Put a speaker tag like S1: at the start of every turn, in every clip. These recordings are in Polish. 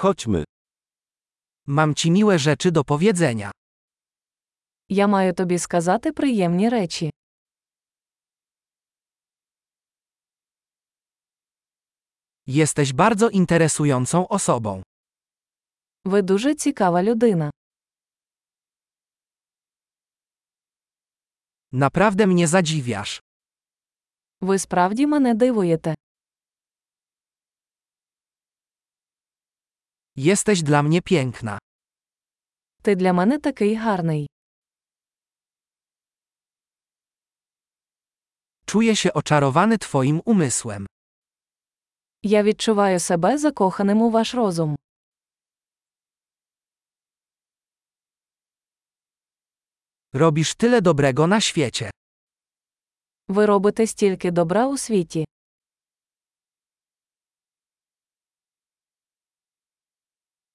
S1: Chodźmy. Mam ci miłe rzeczy do powiedzenia.
S2: Я маю тобі сказати приємні речі.
S1: Jesteś bardzo interesującą osobą.
S2: Ви дуже цікава людина.
S1: Naprawdę mnie zadziwiasz.
S2: Ви справді мене дивуєте.
S1: Jesteś dla mnie piękna.
S2: Ти для мене такий гарний.
S1: Czuję się oczarowany twoim umysłem.
S2: Я відчуваю себе закоханим у ваш розум.
S1: Robisz tyle dobrego na świecie.
S2: Ви робите стільки добра у світі.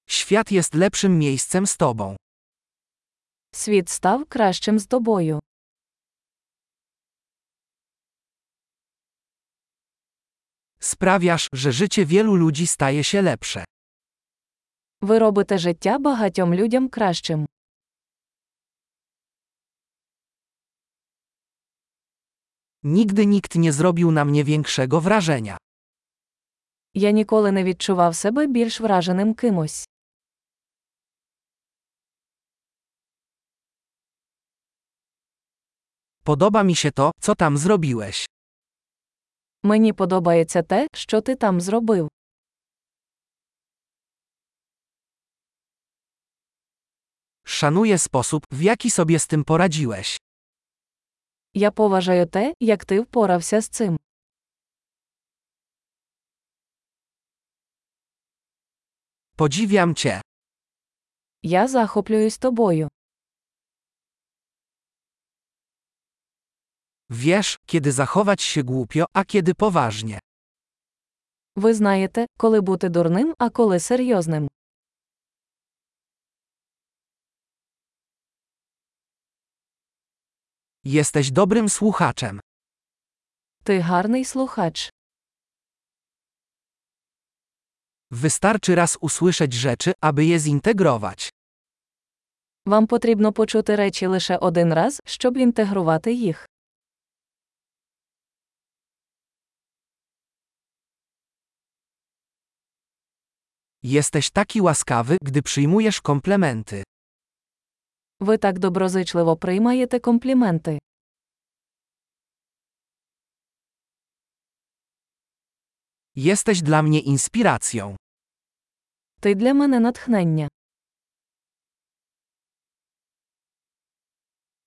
S1: Świat jest lepszym miejscem z tobą.
S2: Світ став кращим з тобою.
S1: Sprawiasz, że życie wielu ludzi staje się lepsze.
S2: Ви робите життя багатьом людям кращим.
S1: Nigdy nikt nie zrobił na mnie większego wrażenia.
S2: Я ніколи не відчував себе більш враженим кимось.
S1: Podoba mi się to, co tam zrobiłeś.
S2: Мені подобається те, що ти там зробив.
S1: Szanuję sposób, w jaki sobie z tym poradziłeś.
S2: Я поважаю те, як ти впорався з цим.
S1: Podziwiam cię.
S2: Я захоплююсь тобою.
S1: Wiesz, kiedy zachować się głupio, a kiedy poważnie.
S2: Ви знаєте, коли бути дурним, а коли серйозним.
S1: Jesteś dobrym słuchaczem.
S2: Ти гарний слухач.
S1: Wystarczy raz usłyszeć rzeczy, aby je zintegrować.
S2: Вам потрібно почути речі лише один раз, щоб інтегрувати їх.
S1: Jesteś taki łaskawy, gdy przyjmujesz komplementy.
S2: Ви так доброзичливо приймаєте компліменти.
S1: Jesteś dla mnie inspiracją.
S2: Ти для мене натхнення.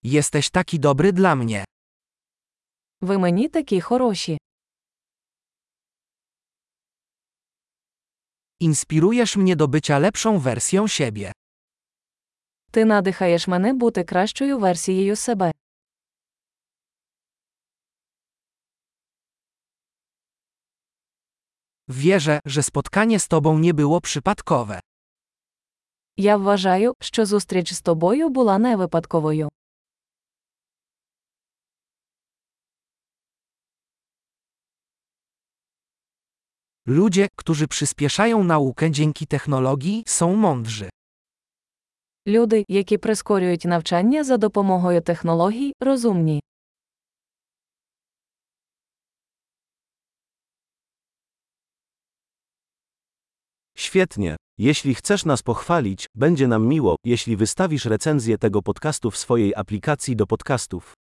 S1: Jesteś taki dobry dla mnie.
S2: Ви мені такі хороші.
S1: Inspirujesz mnie do bycia lepszą wersją siebie.
S2: Ти надихаєш мене бути кращою версією себе.
S1: Wierzę, że spotkanie z tobą nie było przypadkowe.
S2: Я вважаю, що зустріч з тобою була не випадковою.
S1: Ludzie, którzy przyspieszają naukę dzięki technologii, są mądrzy.
S2: Люди, які прискорюють навчання за допомогою технологій, розумні.
S3: Świetnie. Jeśli chcesz nas pochwalić, będzie nam miło, jeśli wystawisz recenzję tego podcastu w swojej aplikacji do podcastów.